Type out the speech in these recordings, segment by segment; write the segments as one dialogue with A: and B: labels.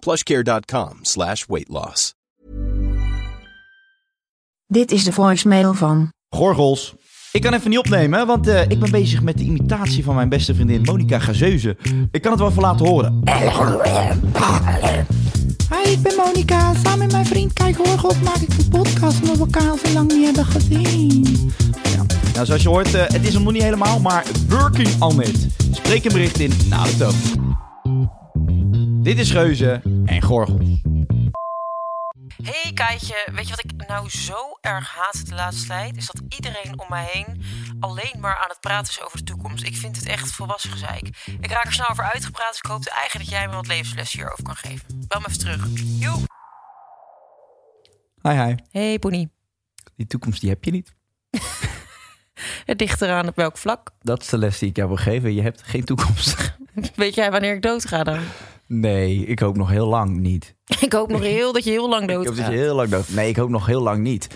A: plushcare.com slash weight loss.
B: Dit is de voicemail van.
C: Gorgels. Ik kan even niet opnemen, want eh, ik ben bezig met de imitatie van mijn beste vriendin Monica Gazeuze. Ik kan het wel even laten horen.
D: Hi, ik ben Monika. Samen met mijn vriend Kijk Hoorgod maak ik een podcast omdat we elkaar al zo lang niet hebben gezien.
C: Nou, zoals je hoort, eh, het is hem nog niet helemaal, maar working on it. Spreek een bericht in na de toon. Dit is Geuze en Gorgels.
E: hey Kaatje, weet je wat ik nou zo erg haat de laatste tijd? Is dat iedereen om mij heen alleen maar aan het praten is over de toekomst. Ik vind het echt volwassen gezeik. Ik raak er snel over uitgepraat, dus ik hoopte eigenlijk dat jij me wat levensles hierover kan geven. Bel me even terug. Joe!
C: Hi, hi.
E: Hey Bonnie.
C: Die toekomst die heb je niet.
E: Het ligt eraan op welk vlak.
C: Dat is de les die ik jou wil geven. Je hebt geen toekomst.
E: Weet jij wanneer ik dood ga dan?
C: Nee, ik hoop nog heel lang niet.
E: Ik hoop nog heel dat je heel lang dood
C: Ik hoop dat
E: gaat.
C: je heel lang dood. Nee, ik hoop nog heel lang niet.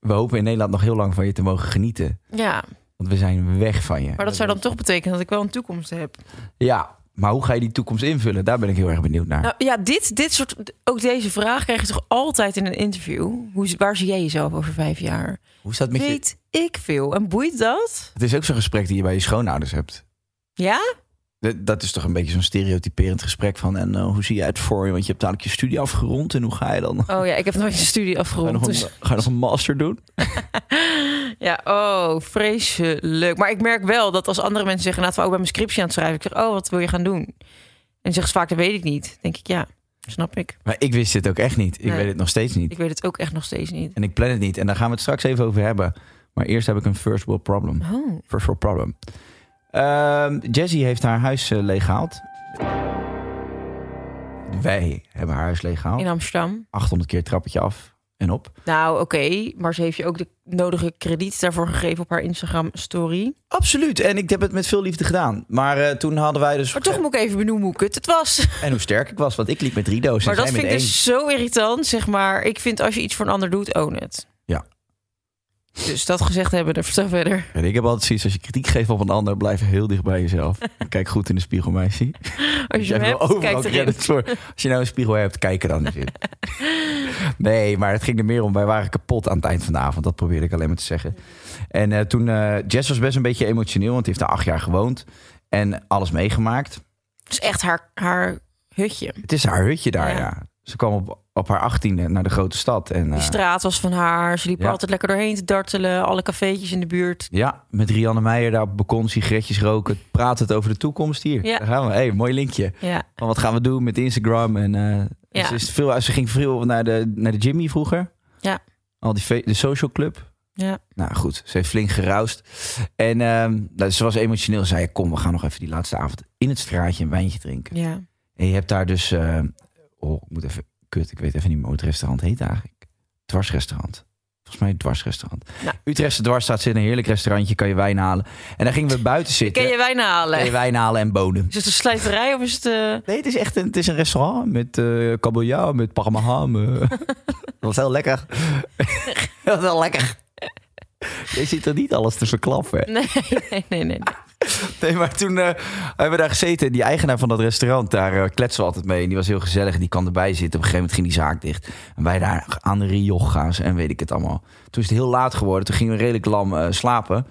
C: We hopen in Nederland nog heel lang van je te mogen genieten.
E: Ja,
C: Want we zijn weg van je.
E: maar dat zou dan toch betekenen dat ik wel een toekomst heb.
C: Ja, maar hoe ga je die toekomst invullen? Daar ben ik heel erg benieuwd naar.
E: Nou ja, dit, dit soort, ook deze vraag krijg je toch altijd in een interview. Hoe, waar zie jij jezelf over vijf jaar?
C: hoe is dat met je?
E: Weet ik veel. En boeit dat?
C: Het is ook zo'n gesprek die je bij je schoonouders hebt.
E: Ja?
C: Dat- Dat is toch een beetje zo'n stereotyperend gesprek van... en eh, hoe zie je het voor je? Want je hebt dadelijk je studie afgerond en hoe ga je dan? Ga
E: Oh ja, ik heb nooit een studie
C: je nog
E: afgerond.
C: een,
E: Dus,
C: ga je nog een master doen?
E: ja, oh, vreselijk. Maar ik merk wel dat als andere mensen zeggen... laten we ook bij mijn scriptie aan het schrijven. Ik zeg, oh, wat wil je gaan doen? En zeggen ze vaak, dat weet ik niet. Dan denk ik, ja, snap ik.
C: Maar ik wist dit ook echt niet. Ik
E: Nee.
C: weet het nog steeds niet.
E: Ik weet het ook echt nog steeds niet.
C: En ik plan het niet. En daar gaan we het straks even over hebben. Maar eerst heb ik een first world problem.
E: Oh,
C: First world problem. Ehm Jessie heeft haar huis eh, leeggehaald. Wij hebben haar huis leeggehaald.
E: in Amsterdam.
C: 800 keer trappetje af en op.
E: Nou, oké. maar ze heeft je ook de nodige krediet daarvoor gegeven op haar Instagram-story.
C: Absoluut. En ik heb het met veel liefde gedaan. Maar eh, toen hadden wij dus...
E: Maar toch moet ik even benoemen hoe kut het was.
C: En hoe sterk ik was. Want ik liep met drie dozen.
E: Maar
C: en
E: dat
C: zij
E: vind ik
C: met één.
E: dus zo irritant, zeg maar. Ik vind als je iets voor een ander doet, own it.
C: Ja.
E: Dus dat gezegd hebben, dan vertel verder.
C: En ik heb altijd zoiets. Als je kritiek geeft op een ander, blijf heel dicht bij jezelf. Kijk goed in de spiegel, meisje.
E: Als je
C: Jij
E: hem
C: wil
E: hebt,
C: overal
E: kijk erin.
C: credits voor. Als je nou een spiegel hebt, kijk er dan eens in. Nee, maar het ging er meer om. Wij waren kapot aan het eind van de avond. Dat probeerde ik alleen maar te zeggen. En eh, toen... eh, Jess was best een beetje emotioneel, want die heeft daar acht jaar gewoond. En alles meegemaakt.
E: Het is echt haar, haar hutje.
C: Het is haar hutje daar, ja.
E: Ja.
C: Ze kwam op, op haar achttiende naar de grote stad. En,
E: Die
C: eh,
E: straat was van haar. Ze liep er
C: Ja.
E: altijd lekker doorheen te dartelen. Alle cafeetjes in de buurt.
C: ja, met Rianne Meijer daar op het balkon, sigaretjes roken. Praat het over de toekomst hier.
E: Ja.
C: Daar gaan we. hey, mooi linkje.
E: Ja.
C: Van wat gaan we doen met Instagram? En eh,
E: Ja.
C: ze, is veel, ze ging veel naar de, naar de Jimmy vroeger.
E: Ja.
C: Al die fe- de social club.
E: Ja.
C: Nou goed, ze heeft flink geroust. En ehm, nou, ze was emotioneel. Ze zei, kom, we gaan nog even die laatste avond in het straatje een wijntje drinken.
E: ja.
C: En je hebt daar dus... eh, oh, ik moet even... Kut, ik weet even niet meer hoe het restaurant heet eigenlijk. Dwarsrestaurant. Volgens mij een dwarsrestaurant.
E: Nou.
C: Utrechtse Dwarsstraat zit een heerlijk restaurantje. Kan je wijn halen. En daar gingen we buiten zitten.
E: Ken je wijn halen?
C: Kan je wijn halen en bonen.
E: Is het een slijterij of is het... eh,
C: Nee, het is echt een, het is een restaurant met eh kabeljauw, met parmaham. eh. dat was heel lekker. dat was heel lekker. Je zit er niet alles te verklappen. hè?
E: Nee, nee, nee. nee.
C: Nee, maar toen eh, hebben we daar gezeten. En die eigenaar van dat restaurant, daar eh, kletsen we altijd mee. En die was heel gezellig en die kwam erbij zitten. Op een gegeven moment ging die zaak dicht. En wij daar aan de riochga's en weet ik het allemaal. Toen is het heel laat geworden. Toen gingen we redelijk lam eh, slapen.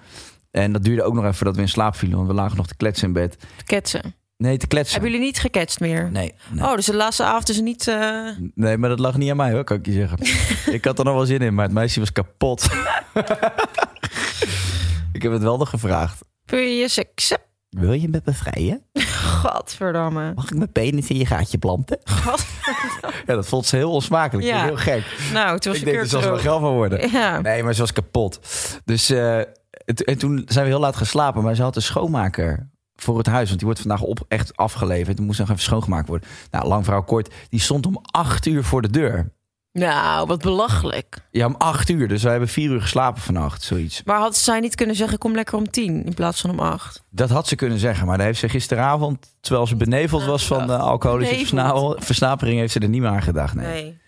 C: En dat duurde ook nog even voordat we in slaap vielen. Want we lagen nog te kletsen in bed.
E: Ketsen.
C: Nee, te kletsen.
E: Hebben jullie niet gecatcht meer?
C: Nee, nee.
E: Oh, dus de laatste avond is niet... eh,
C: Nee, maar dat lag niet aan mij hoor, kan ik je zeggen. ik had er nog wel zin in, maar het meisje was kapot. ik heb het wel nog gevraagd.
E: Previous accept.
C: Wil je met me vrijen?
E: Godverdamme.
C: Mag ik mijn penis in je gaatje planten?
E: Godverdamme.
C: Ja, dat vond ze heel onsmakelijk.
E: Ja.
C: Heel gek.
E: nou, toen was
C: ik
E: je
C: denk, er
E: keurt
C: zal wel
E: ook.
C: geld van worden.
E: Ja.
C: Nee, maar ze was kapot. Dus eh, het- en toen zijn we heel laat gaan slapen. Maar ze had een schoonmaker voor het huis. Want die wordt vandaag op, echt afgeleverd. Die moest nog even schoongemaakt worden. Nou, lang verhaal kort. Die stond om acht uur voor de deur.
E: Nou, wat belachelijk.
C: Ja, om acht uur. Dus wij hebben vier uur geslapen vannacht. Zoiets.
E: Maar had zij niet kunnen zeggen, kom lekker om tien in plaats van om acht?
C: Dat had ze kunnen zeggen. Maar daar heeft ze gisteravond, terwijl ze beneveld was van de alcoholische
E: Beneveld.
C: versna- versnapering, heeft ze er niet meer aan gedacht. Nee.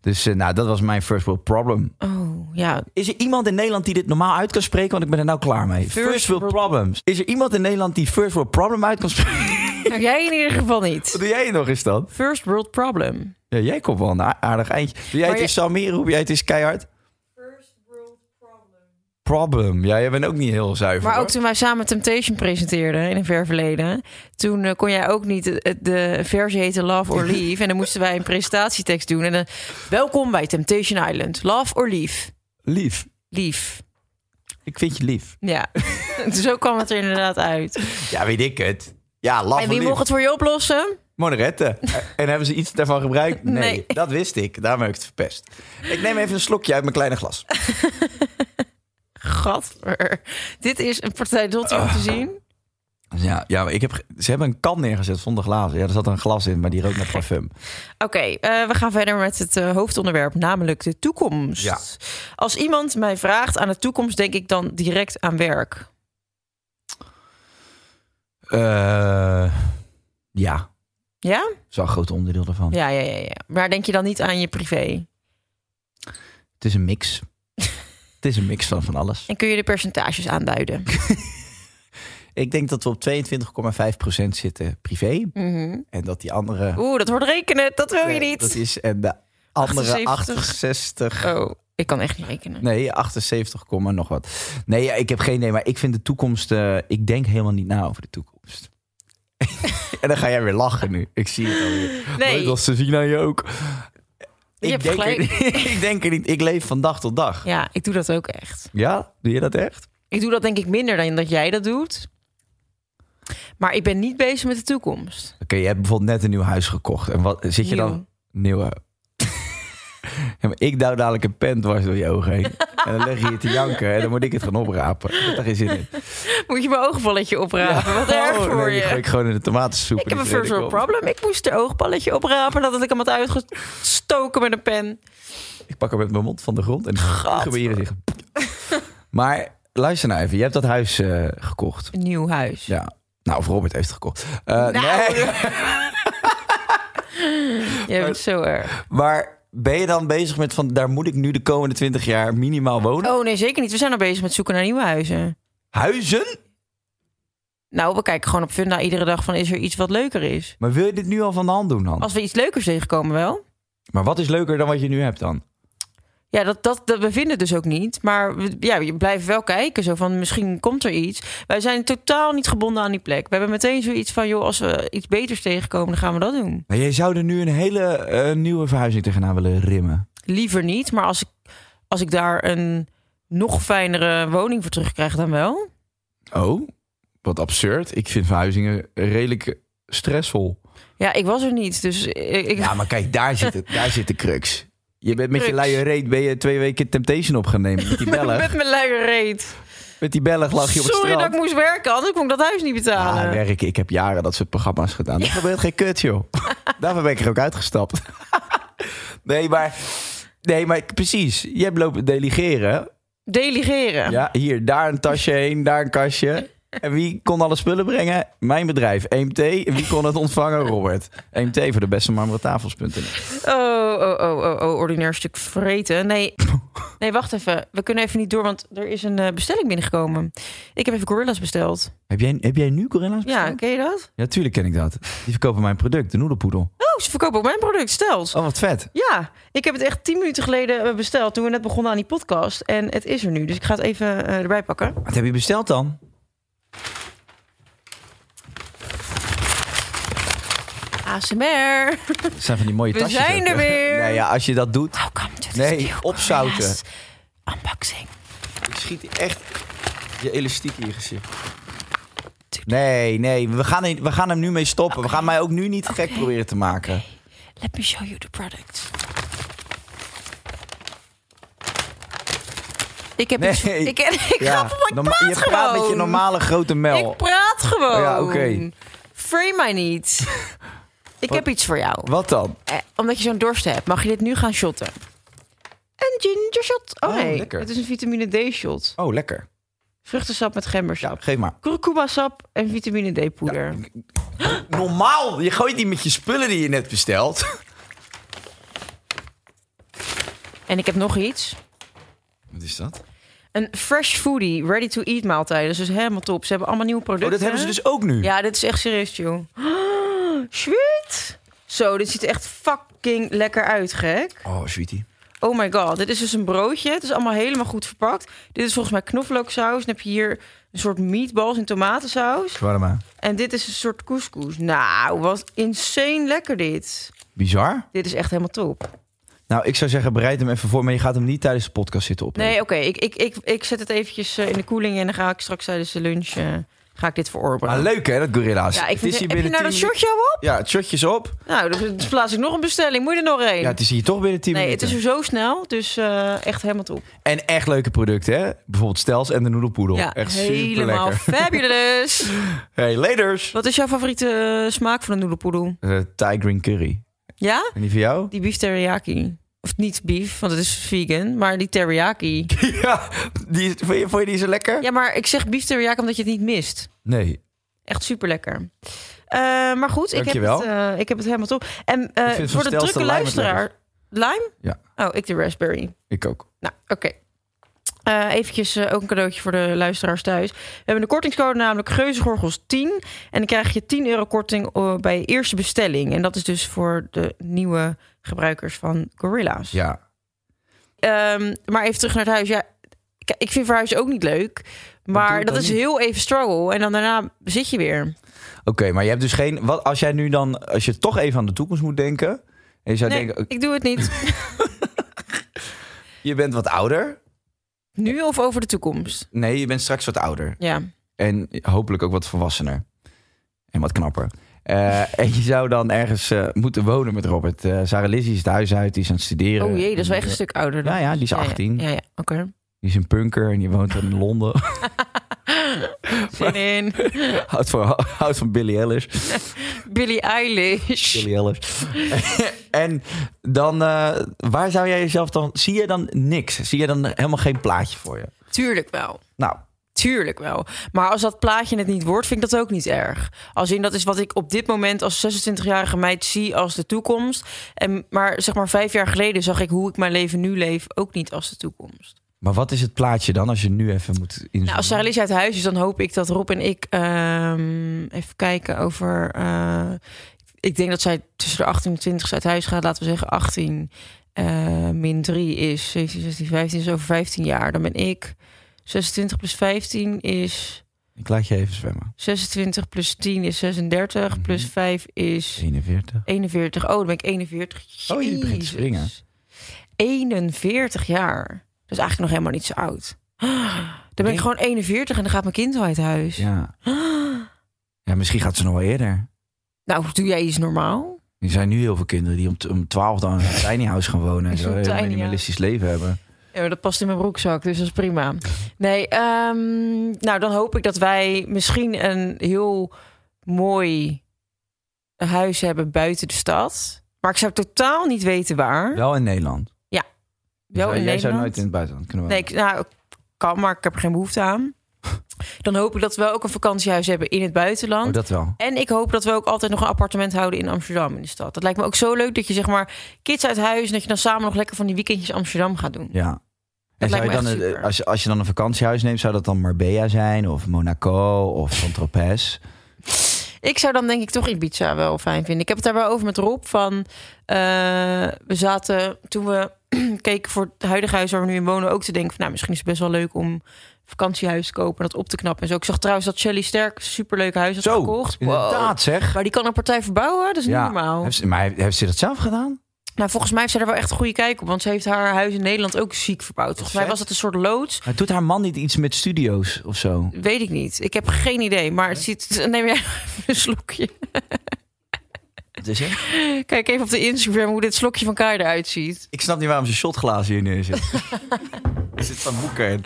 C: Dus eh, nou, dat was mijn first world problem.
E: Oh, ja.
C: Is er iemand in Nederland die dit normaal uit kan spreken? Want ik ben er nou klaar mee. First, world problems. Is er iemand in Nederland die first world problem uit kan spreken?
E: Nou, jij in ieder geval
C: Wat
E: niet.
C: doe jij nog eens dan?
E: First world problem.
C: Ja, jij komt wel een a- aardig eindje. Doe jij
E: Maar
C: het
E: je-
C: eens Samir? Roep jij het eens keihard? First world problem. Problem. Ja, jij bent ook niet heel zuiver.
E: Maar ook
C: hoor.
E: toen wij samen Temptation presenteerden in een ver verleden, toen eh, kon jij ook niet de, de versie heten Love or Leave. En dan moesten wij een presentatietekst doen. En dan, welkom bij Temptation Island. Love or Leave.
C: Lief.
E: Lief.
C: Ik vind je lief.
E: Ja. dus zo kwam het er inderdaad uit.
C: Ja, weet ik het. Ja, laf
E: En wie mocht het voor je oplossen?
C: Monorette. En hebben ze iets daarvan gebruikt? Nee,
E: Nee.
C: dat wist ik. Daarom heb ik het verpest. Ik neem even een slokje uit mijn kleine glas.
E: Gadver. Dit is een partij Dottie om te zien.
C: Ja, ja maar ik heb, ge- ze hebben een kan neergezet zonder glazen. Ja, er zat een glas in, maar die rook naar parfum.
E: Oké, eh, we gaan verder met het eh, hoofdonderwerp, namelijk de toekomst.
C: Ja.
E: Als iemand mij vraagt aan de toekomst, denk ik dan direct aan werk.
C: Eh, ja, dat
E: Ja?
C: is wel een groot onderdeel daarvan.
E: Ja, ja, ja, ja. Maar denk je dan niet aan je privé?
C: Het is een mix. het is een mix van van alles.
E: En kun je de percentages aanduiden?
C: Ik denk dat we op 22,5% zitten privé. En dat die andere...
E: Mhm. Oeh, dat wordt rekenen. Dat wil je
C: eh,
E: niet.
C: Dat is, en de andere
E: 78.
C: 68...
E: Oh, ik kan echt niet rekenen.
C: Nee, 78, komma nog wat. Nee, ja, ik heb geen idee, maar ik vind de toekomst... eh, ik denk helemaal niet na over de toekomst. en dan ga jij weer lachen nu. Ik zie het alweer.
E: Nee.
C: Maar Dat ze zien aan je ook. ik,
E: hebt
C: denk er,
E: gelijk.
C: niet- ik denk er niet. Ik leef van dag tot dag.
E: Ja, ik doe dat ook echt.
C: Ja? Doe je dat echt?
E: Ik doe dat denk ik minder dan dat jij dat doet. Maar ik ben niet bezig met de toekomst.
C: Oké, je hebt bijvoorbeeld net een nieuw huis gekocht. En wat zit je dan... Nieuwe. Ja, maar ik duw dadelijk een pen dwars door je ogen heen. En dan leg je hier te janken. En dan moet ik het gaan oprapen. Ik heb daar geen zin in.
E: Moet je mijn oogvalletje oprapen? Wat erg
C: Oh,
E: voor
C: nee, die
E: je.
C: gooi ik gewoon in de tomatensoep.
E: Ik
C: en
E: heb een
C: die
E: first
C: vreet
E: world
C: ik op.
E: problem. Ik moest de oogballetje oprapen nadat ik hem had uitgestoken met een pen.
C: Ik pak hem met mijn mond van de grond en schuim hier liggen. Maar luister nou even, je hebt dat huis eh, gekocht.
E: Een nieuw huis.
C: Ja. Nou, of Robert heeft het gekocht. Eh,
E: Nou.
C: nee,
E: Jij bent zo erg.
C: maar ben je dan bezig met van daar moet ik nu de komende 20 jaar minimaal wonen?
E: Oh nee, zeker niet. We zijn al bezig met zoeken naar nieuwe huizen.
C: Huizen?
E: Nou, we kijken gewoon op Funda iedere dag van is er iets wat leuker is.
C: Maar wil je dit nu al van de hand doen dan?
E: Als we iets leukers tegenkomen wel.
C: Maar wat is leuker dan wat je nu hebt dan?
E: Ja, dat, dat, dat we vinden het dus ook niet. Maar we, ja, je blijft wel kijken. Zo van misschien komt er iets. Wij zijn totaal niet gebonden aan die plek. We hebben meteen zoiets van joh, als we iets beters tegenkomen, dan gaan we dat doen.
C: Nou, jij zou er nu een hele eh, nieuwe verhuizing tegenaan willen rimmen.
E: Liever niet. Maar als ik, als ik daar een nog fijnere woning voor terugkrijg, dan wel.
C: Oh, wat absurd. Ik vind verhuizingen redelijk stressvol.
E: Ja, ik was er niet. Dus ik, ik-
C: Ja, maar kijk, daar zit, het, daar zit de crux. Je bent met je
E: Crux.
C: luie reet ben je twee weken Temptation op gaan nemen. Met die Belg,
E: met mijn luie reet.
C: met die Belg lag je op het
E: Sorry dat
C: strand.
E: ik moest werken, anders kon ik dat huis niet betalen.
C: ah, werk. Ik heb jaren dat soort programma's gedaan. Dat gebeurt geen kut, joh. Daarvoor ben ik er ook uitgestapt. nee, maar... Nee, maar precies. Je hebt lopen delegeren.
E: Delegeren.
C: Ja, hier, daar een tasje heen, daar een kastje. En wie kon alle spullen brengen? Mijn bedrijf, EMT. En wie kon het ontvangen? Robert. EMT voor de beste marmeren tafels.nl.
E: Oh, oh, oh, oh, oh, ordinair stuk vreten. Nee. nee, wacht even. We kunnen even niet door, want er is een eh, bestelling binnengekomen. Ik heb even gorilla's besteld.
C: Heb jij, heb jij nu gorilla's
E: Ja,
C: besteld?
E: ken je dat?
C: Ja, tuurlijk ken ik dat. Die verkopen mijn product, de noedelpoedel.
E: Oh, ze verkopen ook mijn product, stelt.
C: Oh, wat vet.
E: Ja, ik heb het echt tien minuten geleden eh, besteld toen we net begonnen aan die podcast. En het is er nu, dus ik ga het even eh, erbij pakken.
C: Wat heb je besteld dan?
E: ASMR.
C: Het zijn van die mooie
E: We
C: tasjes.
E: zijn
C: ook, hè?
E: er weer.
C: Nee, ja, als je dat doet,
E: Welcome to the
C: Nee,
E: Steel
C: opzouten.
E: Korea's Unboxing.
C: schiet echt je elastiek in je gezicht. Nee, nee, we gaan, er- we gaan hem nu mee stoppen. We gaan mij ook nu niet gek
E: Oké.
C: proberen te maken.
E: Let me show you the product. Ik heb
C: Nee.
E: iets- Ik, ik
C: Ja,
E: grap, maar ik
C: norma-
E: praat
C: je praat met je
E: gewoon.
C: normale grote mel.
E: Ik praat gewoon.
C: Ja, oké.
E: Frame mij niet. ik heb iets voor jou.
C: Wat dan?
E: Eh, omdat je zo'n dorst hebt, mag je dit nu gaan shotten. Een ginger shot. Oh,
C: Oh,
E: nee,
C: lekker.
E: het is een vitamine D shot.
C: Oh, lekker.
E: Vruchtensap met
C: Ja,
E: gembersap.
C: geef maar.
E: Kurkuma sap en vitamine D poeder.
C: Normaal, je gooit niet met je spullen die je net bestelt.
E: En ik heb nog iets.
C: Wat is dat?
E: Een fresh foodie, ready-to-eat maaltijden. Dus dat is helemaal top. Ze hebben allemaal nieuwe producten.
C: Oh, dat hebben ze dus ook nu.
E: Ja, dit is echt serieus, joh. Sweet! Zo, dit ziet er echt fucking lekker uit, gek.
C: Oh, sweetie.
E: Oh my god, dit is dus een broodje. Het is allemaal helemaal goed verpakt. Dit is volgens mij knoflooksaus. Dan heb je hier een soort meatballs in tomatensaus.
C: Shawarma.
E: En dit is een soort couscous. Nou, wat insane lekker dit.
C: Bizar.
E: Dit is echt helemaal top.
C: Nou, ik zou zeggen, bereid hem even voor, maar je gaat hem niet tijdens de podcast zitten op.
E: Nee, oké, ik, ik, ik, ik zet het eventjes eh, in de koeling... en dan ga ik straks tijdens de lunch eh, ga ik dit verorberen.
C: Maar leuk hè, dat gorilla's.
E: Ja, ik
C: het
E: vind,
C: is hier
E: heb je
C: binnen
E: nou dat
C: 10
E: shotje al op?
C: Ja, het shotje is op.
E: Nou, dus, dus plaats ik nog een bestelling. Moet je er nog één?
C: Ja, het is hier toch binnen 10
E: nee, het
C: minuten.
E: is er zo snel, dus eh, echt helemaal top.
C: En echt leuke producten hè. Bijvoorbeeld Stels en de noedelpoedel.
E: ja,
C: echt super
E: helemaal
C: lekker.
E: fabulous.
C: Hey, laters.
E: Wat is jouw favoriete eh, smaak van een noedelpoedel?
C: Eh, Thai green curry.
E: Ja?
C: En die van jou?
E: Die beef teriyaki. Of niet beef, want het is vegan, maar die teriyaki.
C: ja, die, is- vond, je, vond je die zo lekker?
E: Ja, maar ik zeg beef teriyaki omdat je het niet mist.
C: Nee,
E: Echt super lekker. maar goed, ik heb, het,
C: Dankjewel.
E: eh, ik heb het helemaal top. En eh,
C: vind het
E: voor
C: van
E: de
C: Stelster
E: drukke
C: lime het
E: luisteraar... Lime?
C: Ja.
E: Oh, ik de raspberry.
C: ik ook.
E: Nou, oké. Eh, eventjes eh, ook een cadeautje voor de luisteraars thuis. We hebben de kortingscode namelijk Geuzegorgels10. En dan krijg je 10 euro korting eh, bij je eerste bestelling. En dat is dus voor de nieuwe gebruikers van Gorilla's.
C: Ja.
E: Ehm, maar even terug naar het huis. Ja, k- ik vind verhuizen ook niet leuk.
C: doe
E: Maar
C: het
E: dat
C: dan
E: is
C: niet.
E: heel even struggle. En dan daarna zit je weer.
C: Oké, maar je hebt dus geen... Wat, als jij nu dan... Als je toch even aan de toekomst moet denken... En je zou
E: Nee,
C: denken, "Oh,
E: ik doe het niet.
C: je bent wat ouder.
E: Nu of over de toekomst?
C: Nee, je bent straks wat ouder.
E: Ja.
C: En hopelijk ook wat volwassener. En wat knapper. Eh, en je zou dan ergens eh, moeten wonen met Robert. Eh Sarah Lizzie is het huis uit, die is aan het studeren.
E: Oh jee, dat is wel echt een stuk ouder. dan.
C: Ja, ja, die is 18.
E: Ja, ja, oké.
C: Die is een punker en die woont in Londen.
E: Zin in.
C: houdt, van, houdt van Billy Ellis.
E: Billie Eilish.
C: Billy Ellis. en dan, eh, waar zou jij jezelf dan... Zie je dan niks? Zie je dan helemaal geen plaatje voor je?
E: Tuurlijk wel.
C: Nou,
E: Tuurlijk wel. Maar als dat plaatje het niet wordt, vind ik dat ook niet erg. Als in dat is wat ik op dit moment als 26-jarige meid zie als de toekomst. En, maar zeg maar vijf jaar geleden zag ik hoe ik mijn leven nu leef ook niet als de toekomst.
C: maar wat is het plaatje dan als je nu even moet inzoomen?
E: Nou, als Sarah Lies uit huis is, dan hoop ik dat Rob en ik ehm, even kijken over. eh, ik denk dat zij tussen de 18 en 20 uit huis gaat, laten we zeggen 18 eh, min 3 is 17, 16, 15 is over 15 jaar. Dan ben ik 26 plus 15 is.
C: Ik laat je even zwemmen.
E: 26 plus 10 is 36, plus 5 is
C: 41.
E: 41. Oh, dan ben ik 41.
C: Oh, je begint te
E: Jezus.
C: springen.
E: 41 jaar. Dat is eigenlijk nog helemaal niet zo oud. Dan ben ik
C: Denk-
E: gewoon 41 en dan gaat mijn kind al uit huis.
C: Ja. ja, misschien gaat ze nog wel eerder.
E: Nou, doe jij iets normaal?
C: Er zijn nu heel veel kinderen die om, t- om 12 dan in een tiny house gaan wonen. En
E: Zo'n
C: zo een
E: tiny
C: minimalistisch leven hebben.
E: Ja, maar dat past in mijn broekzak, dus dat is prima. Nee, ehm, nou dan hoop ik dat wij misschien een heel mooi huis hebben buiten de stad. Maar ik zou totaal niet weten waar.
C: Wel in Nederland.
E: Ja.
C: Wel
E: Wel
C: dus, eh, jij
E: in
C: zou
E: Nederland?
C: nooit in het buitenland kunnen
E: Nee,
C: wonen.
E: ik, nou, kan, maar ik heb er geen behoefte aan. Dan hoop ik dat we ook een vakantiehuis hebben in het buitenland.
C: oh, dat wel.
E: En ik hoop dat we ook altijd nog een appartement houden in Amsterdam in de stad. Dat lijkt me ook zo leuk dat je zeg maar kids uit huis... en dat je dan samen nog lekker van die weekendjes Amsterdam gaat doen.
C: Ja. En
E: lijkt
C: zou je
E: me
C: dan,
E: echt
C: een-
E: super.
C: als, je, als je dan een vakantiehuis neemt, zou dat dan Marbella zijn? Of Monaco? Of Saint-Tropez?
E: Ik zou dan denk ik toch Ibiza wel fijn vinden. Ik heb het daar wel over met Rob van... eh, we zaten toen we keken voor het huidige huis waar we nu in wonen... ook te denken van nou, misschien is het best wel leuk om vakantiehuis kopen, dat op te knappen en zo. Ik zag trouwens dat Shelly Sterk een superleuk huis had
C: Zo,
E: verkocht. Wow. Oh.
C: inderdaad zeg.
E: Maar Nou, die kan een partij verbouwen, dat is niet normaal.
C: Heeft ze- maar heeft heeft ze dat zelf gedaan?
E: Nou, volgens mij heeft zij er wel echt een goede kijk op. Want ze heeft haar huis in Nederland ook ziek verbouwd. Volgens mij
C: vet.
E: was dat een soort loods.
C: Maar doet haar man niet iets met studio's of zo?
E: Weet ik niet. Ik heb geen idee. Maar het ziet... Neem jij even een slokje.
C: Wat is het?
E: Kijk even op de Instagram hoe dit slokje van Kai eruit ziet.
C: Ik snap niet waarom ze shotglazen hier neer zit. er zit van boeken in.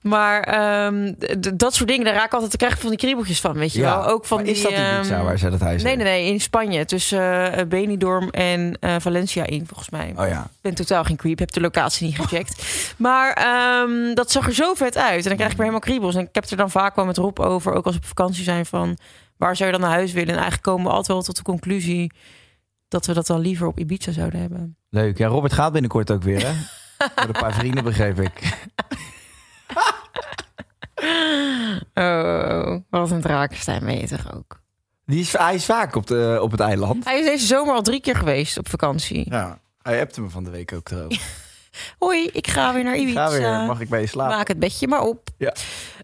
E: Maar ehm, d- d- dat soort dingen, daar raak ik altijd te krijgen van die kriebeltjes van, weet je
C: Ja,
E: wel. Ook van
C: maar
E: die,
C: is dat in Ibiza
E: ehm,
C: waar zij dat huis
E: Nee, nee,
C: heeft?
E: nee, in Spanje. Tussen eh Benidorm en eh, Valencia in, volgens mij.
C: Oh ja.
E: Ik ben totaal geen creep, heb de locatie niet gecheckt. Maar ehm, dat zag er zo vet uit. En dan krijg ik weer helemaal kriebels. En ik heb het er dan vaak wel met Rob over, ook als we op vakantie zijn, van waar zou je dan naar huis willen? En eigenlijk komen we altijd wel tot de conclusie dat we dat dan liever op Ibiza zouden hebben.
C: Leuk. Ja, Robert gaat binnenkort ook weer, hè? Met een paar vrienden, begreep ik.
E: Oh, wat een drakenstein ben je toch ook.
C: Die is, hij is vaak op, de, op het eiland.
E: Hij is deze zomer al drie keer geweest op vakantie.
C: Ja, hij appte me van de week ook erover.
E: Hoi, ik ga weer naar Ibiza.
C: Ga weer, mag ik bij je slapen?
E: Maak het bedje maar op.
C: Ja.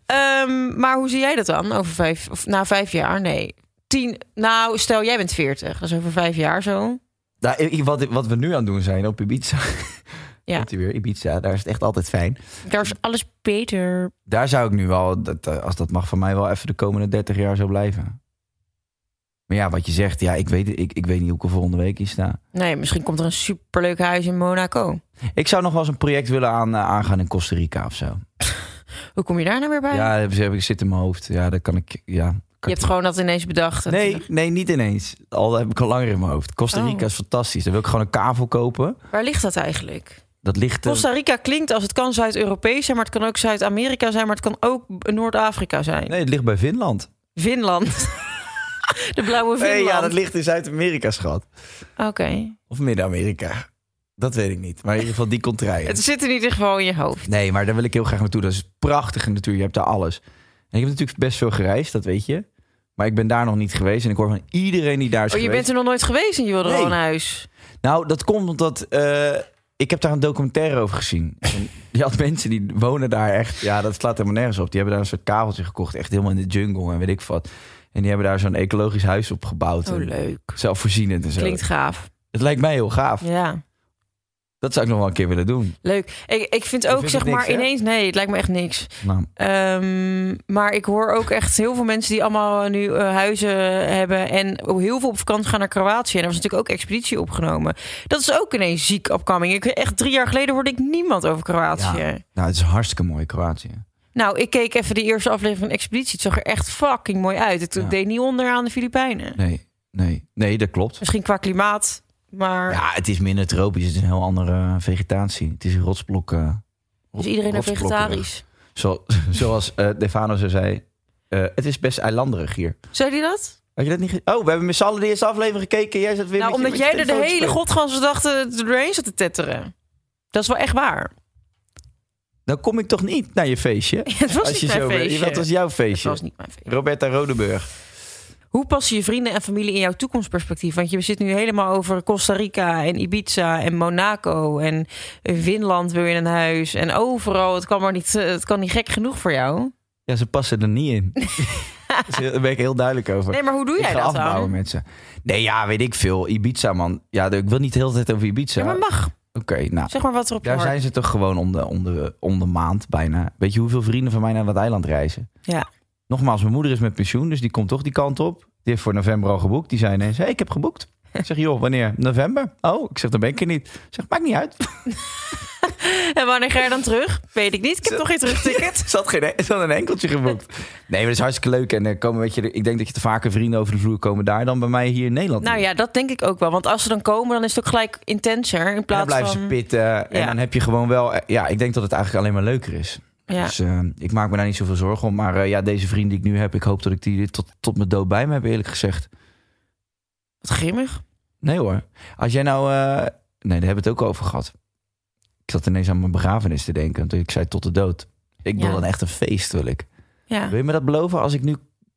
E: Ehm, maar hoe zie jij dat dan? Over vijf, of na vijf jaar? Nee. Tien, nou, stel jij bent veertig. Dat is over vijf jaar zo.
C: Nou, ik- wat, wat we nu aan het doen zijn op Ibiza.
E: Ja.
C: Komt hij weer, Ibiza, daar is het echt altijd fijn.
E: Daar is alles beter.
C: Daar zou ik nu wel, dat, eh, als dat mag van mij, wel even de komende 30 jaar zo blijven. Maar ja, wat je zegt, ja, ik, weet, ik, ik weet niet hoe ik er volgende week in sta.
E: Nee, misschien komt er een superleuk huis in Monaco.
C: Ik zou nog wel eens een project willen aan, eh, aangaan in Costa Rica of zo.
E: Hoe kom je daar nou weer bij?
C: Ja, heb, heb ik zit in mijn hoofd. Ja, dat kan ik. Ja, kan
E: je
C: ik-
E: hebt gewoon dat ineens bedacht. Dat-
C: Nee, nee, niet ineens. Al dat heb ik al langer in mijn hoofd. Costa Rica
E: Oh.
C: is fantastisch. Daar wil ik gewoon een kavel kopen.
E: Waar ligt dat eigenlijk?
C: Dat ligt. eh,
E: Costa Rica klinkt als het kan Zuid-Europees zijn, maar het kan ook Zuid-Amerika zijn, maar het kan ook Noord-Afrika zijn.
C: Nee, het ligt bij Finland.
E: Finland. De blauwe Finland.
C: Nee, ja, dat ligt in Zuid-Amerika, schat.
E: Oké.
C: Of Midden-Amerika. Dat weet ik niet. Maar in ieder geval die contraien.
E: Het zit in ieder geval in je hoofd.
C: Nee, maar daar wil ik heel graag naartoe. Dat is prachtige natuur. Je hebt daar alles. En ik heb natuurlijk best veel gereisd, dat weet je. Maar ik ben daar nog niet geweest. En ik hoor van iedereen die daar is
E: Oh, je
C: geweest.
E: bent er nog nooit geweest en je wilde
C: Nee.
E: al een huis.
C: Nou, dat komt omdat eh, ik heb daar een documentaire over gezien. En je had mensen die wonen daar echt. Ja, dat slaat helemaal nergens op. Die hebben daar een soort kabeltje gekocht, echt helemaal in de jungle en weet ik wat. En die hebben daar zo'n ecologisch huis op gebouwd.
E: Oh,
C: En
E: leuk.
C: Zelfvoorzienend en zo.
E: Klinkt gaaf.
C: Het lijkt mij heel gaaf.
E: Ja,
C: Dat zou ik nog wel een keer willen doen.
E: leuk. Ik, ik vind
C: Je
E: ook,
C: vindt
E: zeg
C: het niks,
E: maar,
C: hè?
E: ineens... Nee, het lijkt me echt niks.
C: Nou,
E: Ehm, maar ik hoor ook echt heel veel mensen die allemaal nu eh, huizen hebben... en ook heel veel op vakantie gaan naar Kroatië. En er was natuurlijk ook expeditie opgenomen. Dat is ook ineens ziek opkoming. Ik, echt drie jaar geleden hoorde ik niemand over Kroatië.
C: ja. nou, het is hartstikke mooi Kroatië.
E: Nou, ik keek even de eerste aflevering van Expeditie. Het zag er echt fucking mooi uit. Het
C: Ja.
E: deed niet onder aan de Filipijnen.
C: Nee, nee, nee, dat klopt.
E: Misschien qua klimaat, maar...
C: Ja, het is minder tropisch. Het is een heel andere eh, vegetatie. Het is een rotsblok. eh,
E: Is iedereen nou
C: rotsblokkerig.
E: vegetarisch?
C: Zo, zoals eh Defano zo zei, eh, het is best eilanderig hier.
E: Zei die dat?
C: Had je dat niet ge- Oh, we hebben met z'n allen de eerste aflevering gekeken. Jij zat weer
E: Nou,
C: met je- met
E: omdat
C: je
E: jij er de
C: telefoon te
E: hele
C: spelen.
E: godganse dag te- doorheen zat te tetteren. Dat is wel echt waar.
C: Dan kom ik toch niet naar je feestje?
E: Het was
C: Als je
E: niet mijn
C: zo bent.
E: feestje.
C: Dat was jouw
E: Het
C: feestje.
E: was niet mijn feestje.
C: Roberta Rodenburg.
E: Hoe passen je vrienden en familie in jouw toekomstperspectief? Want je zit nu helemaal over Costa Rica en Ibiza en Monaco en Finland wil je een huis. En overal, het kan maar niet, eh, het kan niet gek genoeg voor jou.
C: Ja, ze passen er niet in. Dus Daar ben ik heel duidelijk over.
E: Nee, maar hoe doe
C: ik
E: jij
C: ga
E: dat
C: afbouwen
E: dan?
C: met ze. Nee, ja, weet ik veel. Ibiza, man. Ja, ik wil niet de hele tijd over Ibiza.
E: Ja, maar mag.
C: Oké, nou.
E: Zeg maar wat er op je
C: Daar
E: hart-
C: zijn ze toch gewoon om de, om, de, om de maand bijna. Weet je hoeveel vrienden van mij naar dat eiland reizen?
E: Ja.
C: Nogmaals, mijn moeder is met pensioen, dus die komt toch die kant op. Die heeft voor november al geboekt. Die zei ineens, hey, ik heb geboekt. Ik zeg, joh, wanneer? November? Oh, ik zeg, dan ben ik er niet. Ik zeg, maakt niet uit.
E: En wanneer ga je dan terug? Weet ik niet. Ik heb toch geen terugticket.
C: Ze had, geen, ze had een enkeltje geboekt. Nee, maar dat is hartstikke leuk. En er komen, weet je, ik denk dat je te vaker vrienden over de vloer komen daar dan bij mij hier in Nederland.
E: Nou ja, dat denk ik ook wel. Want als ze dan komen, dan is het ook gelijk intenser. In
C: En dan
E: plaats
C: blijven
E: van...
C: ze pitten. En
E: Ja.
C: dan heb je gewoon wel... eh, Ja, ik denk dat het eigenlijk alleen maar leuker is.
E: Ja.
C: Dus eh, ik maak me daar niet zoveel zorgen om. Maar eh, ja, deze vriend die ik nu heb, ik hoop dat ik die tot, tot mijn dood bij me heb, eerlijk gezegd.
E: Wat grimmig.
C: Nee hoor. Als jij nou... eh, Nee, daar hebben we het ook over gehad. Ik zat ineens aan mijn begrafenis te denken. Toen ik zei tot de dood. Ik wil
E: Ja.
C: dan echt een feest, wil ik.
E: Ja.
C: Wil je me dat beloven als ik nu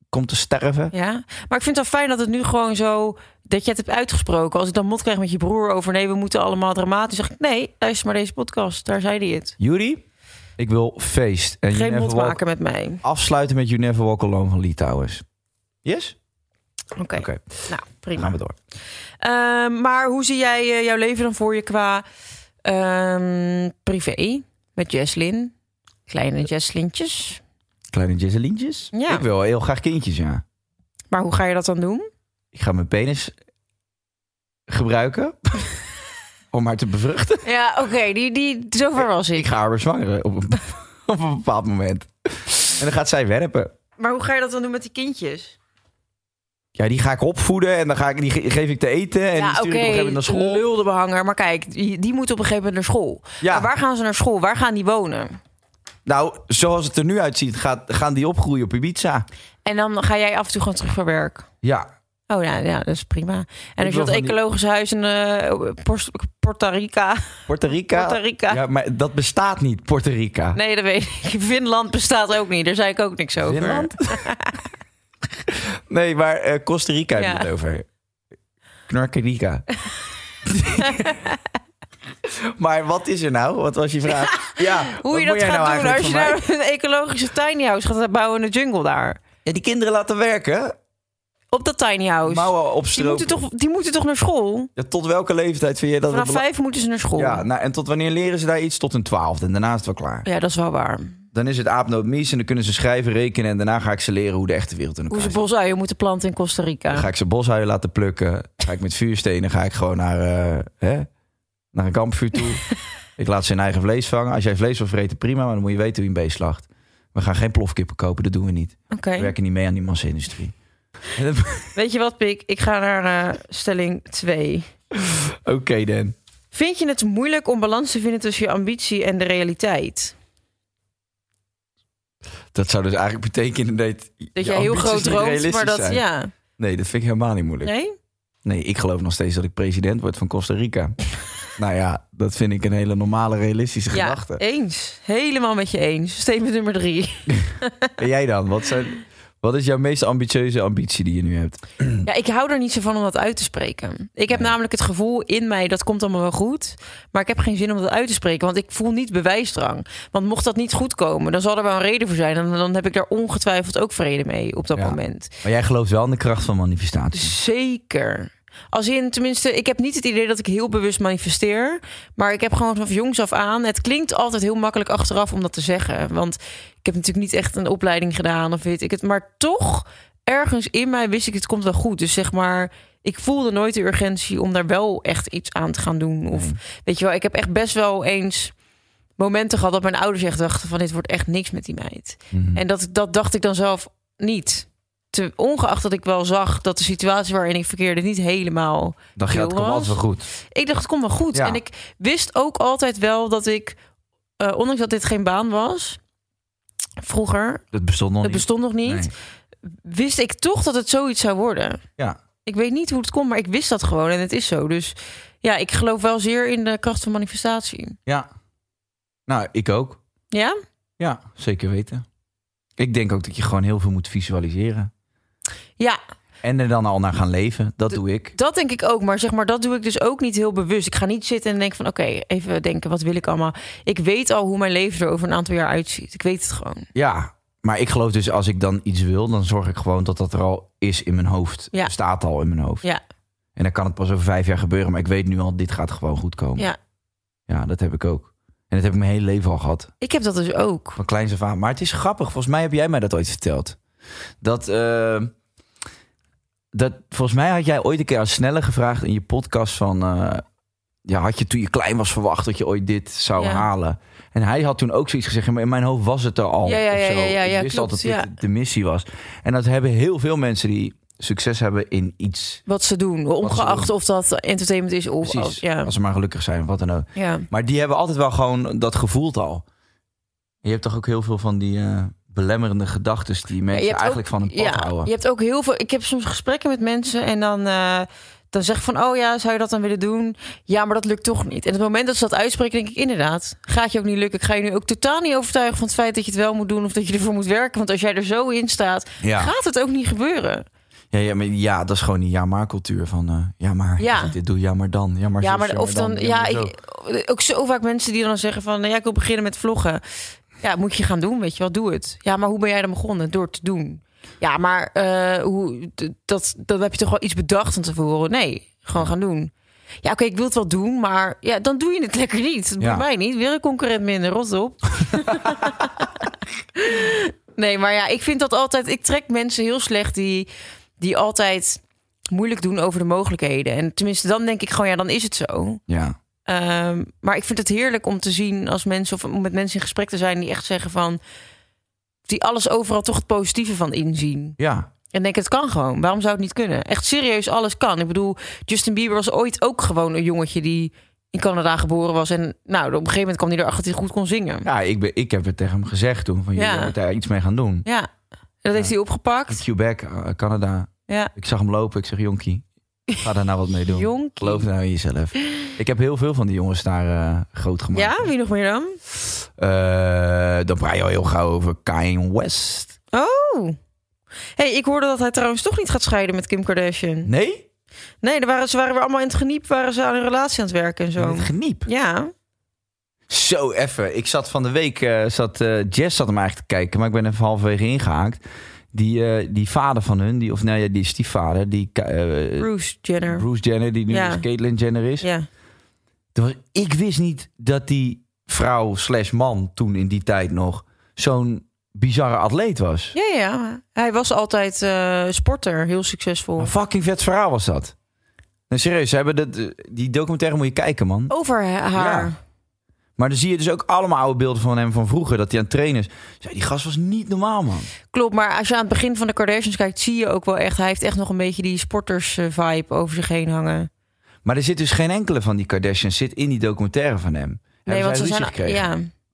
C: kom te sterven?
E: ja. Maar ik vind het wel fijn dat het nu gewoon zo... dat je het hebt uitgesproken. Als ik dan mot krijg met je broer over... nee, we moeten allemaal dramatisch. zeg ik, nee, luister maar deze podcast. Daar zei hij het.
C: Juri, Ik wil feest. En You
E: Geen
C: Never
E: mond
C: Walk-
E: maken met mij.
C: Afsluiten met You Never Walk Alone van Lee Towers. Yes?
E: Oké,
C: Oké,
E: nou
C: dan
E: prima.
C: gaan we door.
E: Ehm, maar hoe zie jij eh, jouw leven dan voor je qua ehm, privé? Met Jesslyn? Kleine Jesslintjes.
C: Kleine Jesselientjes?
E: Ja.
C: Ik wil heel graag kindjes, ja.
E: Maar hoe ga je dat dan doen?
C: Ik ga mijn penis gebruiken om haar te bevruchten.
E: Ja, oké, die, die, zover was
C: Ik ga haar bezwangeren op een, op een bepaald moment. En dan gaat zij werpen.
E: Maar hoe ga je dat dan doen met die kindjes?
C: Ja, die ga ik opvoeden en dan ga ik, die ge- geef ik te eten en die stuur ik op een gegeven moment naar school.
E: lul de behanger. Maar kijk, die, die moet op een gegeven moment naar school.
C: Ja.
E: Maar waar gaan ze naar school? Waar gaan die wonen?
C: Nou, zoals het er nu uitziet, gaat, gaan die opgroeien op Ibiza.
E: En dan ga jij af en toe gewoon terug voor werk.
C: Ja.
E: Oh ja, ja, dat is prima. En als je
C: wil
E: dat
C: van die-
E: ecologisch huis in eh, Pors- Porta Rica...
C: Puerto Rica.
E: Puerto Rica.
C: Ja, maar dat bestaat niet, Puerto Rica.
E: Nee, dat weet ik. Finland bestaat ook niet. Daar zei ik ook niks over.
C: Finland? nee, maar eh, Costa Rica heb je
E: Ja.
C: het over. Knarkerica. maar wat is er nou? Wat was je vraag? Ja,
E: Hoe
C: wat
E: je
C: moet
E: dat
C: jij
E: gaat
C: nou
E: doen
C: eigenlijk
E: als je
C: van mij?
E: nou een ecologische tiny house gaat bouwen in de jungle daar.
C: Ja, die kinderen laten werken.
E: Op dat tiny house.
C: Mouwen
E: Oh, die,
C: opstropen.
E: moeten toch, die moeten toch naar school?
C: Ja, tot welke leeftijd vind je dat
E: Vanaf
C: het belang-
E: vijf moeten ze naar school.
C: Ja, nou, en tot wanneer leren ze daar iets? Tot een twaalfde. En daarna is het wel klaar.
E: Ja, dat is wel waar.
C: Dan is het aapnoot mies en dan kunnen ze schrijven, rekenen... en daarna ga ik ze leren hoe de echte wereld in elkaar
E: Hoe ze
C: zit.
E: bosuien moeten planten in Costa
C: Dan ga
E: Rica.
C: ik ze boshuien laten plukken. Ga ik met vuurstenen ga ik gewoon naar, eh, hè? naar een kampvuur toe. ik laat ze hun eigen vlees vangen. Als jij vlees wil vreten, prima. Maar dan moet je weten hoe je een beest slacht. We gaan geen plofkippen kopen, dat doen we niet.
E: Oké.
C: We werken niet mee aan die massa-industrie.
E: Weet je wat, Pik? Ik ga naar eh, stelling 2.
C: Oké, Dan.
E: Vind je het moeilijk om balans te vinden tussen je ambitie en de realiteit?
C: Dat zou dus eigenlijk betekenen dat...
E: Dat jij heel groot droomt, maar dat...
C: Zijn.
E: Ja.
C: Nee, dat vind ik helemaal niet moeilijk.
E: Nee?
C: Nee, ik geloof nog steeds dat ik president word van Costa Rica. nou ja, dat vind ik een hele normale, realistische
E: Ja,
C: gedachte.
E: eens. Helemaal met je eens. Statement nummer drie.
C: En jij dan? Wat, zijn, wat is jouw meest ambitieuze ambitie die je nu hebt?
E: Ja, ik hou er niet zo van om dat uit te spreken. Ik heb namelijk het gevoel in mij dat komt allemaal wel goed. Maar ik heb geen zin om dat uit te spreken. Want ik voel niet bewijsdrang. Want mocht dat niet goed komen, dan zal er wel een reden voor zijn. En dan heb ik daar ongetwijfeld ook vrede mee op dat
C: Ja.
E: moment.
C: Maar jij gelooft wel in de kracht van manifestatie.
E: Zeker. Als in, tenminste, ik heb niet het idee dat ik heel bewust manifesteer. Maar ik heb gewoon vanaf jongs af aan. Het klinkt altijd heel makkelijk achteraf om dat te zeggen. Want ik heb natuurlijk niet echt een opleiding gedaan of weet ik het. Maar toch, ergens in mij wist ik, het komt wel goed. Dus zeg maar, ik voelde nooit de urgentie om daar wel echt iets aan te gaan doen. Of weet je wel, ik heb echt best wel eens momenten gehad dat mijn ouders echt dachten van dit wordt echt niks met die meid.
C: Mhm.
E: En dat, dat dacht ik dan zelf niet. Te, ongeacht dat ik wel zag dat de situatie waarin ik verkeerde niet helemaal
C: Dacht je,
E: chill
C: dat komt
E: was.
C: altijd wel goed.
E: Ik dacht, het komt wel goed.
C: Ja.
E: En ik wist ook altijd wel dat ik, eh, ondanks dat dit geen baan was, vroeger,
C: Dat bestond nog
E: het
C: niet.
E: bestond nog niet,
C: Nee.
E: wist ik toch dat het zoiets zou worden.
C: Ja.
E: Ik weet niet hoe het komt, maar ik wist dat gewoon en het is zo. Dus ja, ik geloof wel zeer in de kracht van manifestatie.
C: ja. Nou, ik ook.
E: Ja?
C: Ja, zeker weten. Ik denk ook dat je gewoon heel veel moet visualiseren.
E: Ja,
C: En er dan al naar gaan leven. Dat
E: De-
C: doe ik.
E: dat denk ik ook. Maar zeg maar, dat doe ik dus ook niet heel bewust. Ik ga niet zitten en denken van, oké, even denken, wat wil ik allemaal? Ik weet al hoe mijn leven er over een aantal jaar uitziet. Ik weet het gewoon.
C: Ja. Maar ik geloof dus als ik dan iets wil, dan zorg ik gewoon dat dat er al is in mijn hoofd.
E: Ja.
C: Staat al in mijn hoofd.
E: Ja,
C: En dan kan het pas over vijf jaar gebeuren. Maar ik weet nu al, dit gaat gewoon goed komen.
E: ja.
C: Ja, dat heb ik ook. En dat heb ik mijn hele leven al gehad.
E: Ik heb dat dus ook.
C: Van kleins af aan. Maar het is grappig. Volgens mij heb jij mij dat ooit verteld. Dat, eh, dat volgens mij had jij ooit een keer aan Snelle gevraagd in je podcast van... eh, ja, had je toen je klein was verwacht dat je ooit dit zou
E: Ja.
C: halen? En hij had toen ook zoiets gezegd. Maar in mijn hoofd was het er al.
E: Ja, ja,
C: of
E: ja,
C: zo.
E: ja, ja, ja,
C: Ik wist
E: klopt,
C: altijd dat
E: ja.
C: dit de missie was. En dat hebben heel veel mensen die succes hebben in iets.
E: wat ze doen. Ongeacht
C: doen.
E: of dat entertainment is of
C: Precies.
E: als- ja.
C: Als ze maar gelukkig zijn of wat dan ook.
E: ja.
C: Maar die hebben altijd wel gewoon dat gevoeld al. Je hebt toch ook heel veel van die eh, belemmerende gedachten die mensen
E: je hebt
C: eigenlijk
E: ook-
C: van een pad
E: ja,
C: houden.
E: Je hebt ook heel veel. Ik heb soms gesprekken met mensen en dan. eh, dan zeg ik van, oh ja, zou je dat dan willen doen? Ja, maar dat lukt toch niet. En het moment dat ze dat uitspreken, denk ik inderdaad, gaat je ook niet lukken. Ik ga je nu ook totaal niet overtuigen van het feit dat je het wel moet doen of dat je ervoor moet werken. Want als jij er zo in staat,
C: Ja.
E: gaat het ook niet gebeuren.
C: Ja, ja, maar ja, dat is gewoon die ja-maar-cultuur van eh, ja, maar
E: Ja.
C: als ik dit doe, ja, maar dan. Ja, maar,
E: Ja,
C: zus,
E: maar of
C: dan.
E: dan, ja,
C: maar zo.
E: ik, ook zo vaak mensen die dan zeggen van, nou ja, ik wil beginnen met vloggen. Ja, moet je gaan doen, weet je wel, doe het. Ja, maar hoe ben jij dan begonnen? Door te doen. Ja, maar eh, hoe, d- dat, dat heb je toch wel iets bedacht van tevoren? Nee, gewoon gaan doen. Ja, oké, ik wil het wel doen, maar ja, dan doe je het lekker niet. Dat
C: Ja.
E: boeit mij niet. Weer een concurrent minder, rot op. nee, maar ja, ik vind dat altijd... Ik trek mensen heel slecht die, die altijd moeilijk doen over de mogelijkheden. En tenminste, dan denk ik gewoon, ja, dan is het zo.
C: Ja.
E: Ehm, maar ik vind het heerlijk om te zien als mensen of om met mensen in gesprek te zijn die echt zeggen van die alles overal toch het positieve van inzien.
C: Ja.
E: En denk het kan gewoon. Waarom zou het niet kunnen? Echt serieus, alles kan. Ik bedoel, Justin Bieber was ooit ook gewoon een jongetje die in Canada geboren was en nou, op een gegeven moment kwam hij erachter dat hij goed kon zingen. Ja.
C: Ja, ik, ben, ik heb het tegen hem gezegd toen. Van, je
E: Ja.
C: moet daar iets mee gaan doen.
E: En dat heeft hij opgepakt.
C: Quebec, eh, Canada.
E: Ja.
C: Ik zag hem lopen. Ik zeg, jonkie, ga daar nou wat mee doen.
E: Jonkie.
C: Geloof nou in jezelf. Ik heb heel veel van die jongens daar eh, groot gemaakt.
E: Ja, wie nog meer dan?
C: Eh, dan praat je al heel gauw over Kanye West.
E: Oh. hey, ik hoorde dat hij trouwens toch niet gaat scheiden met Kim Kardashian.
C: Nee?
E: Nee, er waren, ze waren weer allemaal in het geniep, waren ze aan een relatie aan het werken en zo.
C: Met geniep.
E: Ja.
C: Zo even. Ik zat van de week, eh, zat, eh Jess zat hem eigenlijk te kijken, maar ik ben even halverwege ingehaakt. Die, eh, die vader van hun, die, of nou ja, die stiefvader, die Ka- eh,
E: Bruce Jenner.
C: Bruce Jenner, die nu
E: Ja.
C: dus Caitlyn Jenner is.
E: Ja.
C: Er was- ik wist niet dat die vrouw slash man toen in die tijd nog zo'n bizarre atleet was.
E: Ja, ja, ja. Hij was altijd eh, sporter, heel succesvol.
C: Een fucking vet verhaal was dat. En serieus, ze hebben dat, eh, die documentaire moet je kijken, man.
E: Over he- haar.
C: Ja. Maar dan zie je dus ook allemaal oude beelden van hem van vroeger, dat hij aan het trainen is. Zo, die gast was niet normaal, man.
E: Klopt, maar als je aan het begin van de Kardashians kijkt, zie je ook wel echt. Hij heeft echt nog een beetje die sporters-vibe over zich heen hangen.
C: Maar er zit dus geen enkele van die Kardashians zit in die documentaire van hem. Hebben zij dus ruzie gekregen?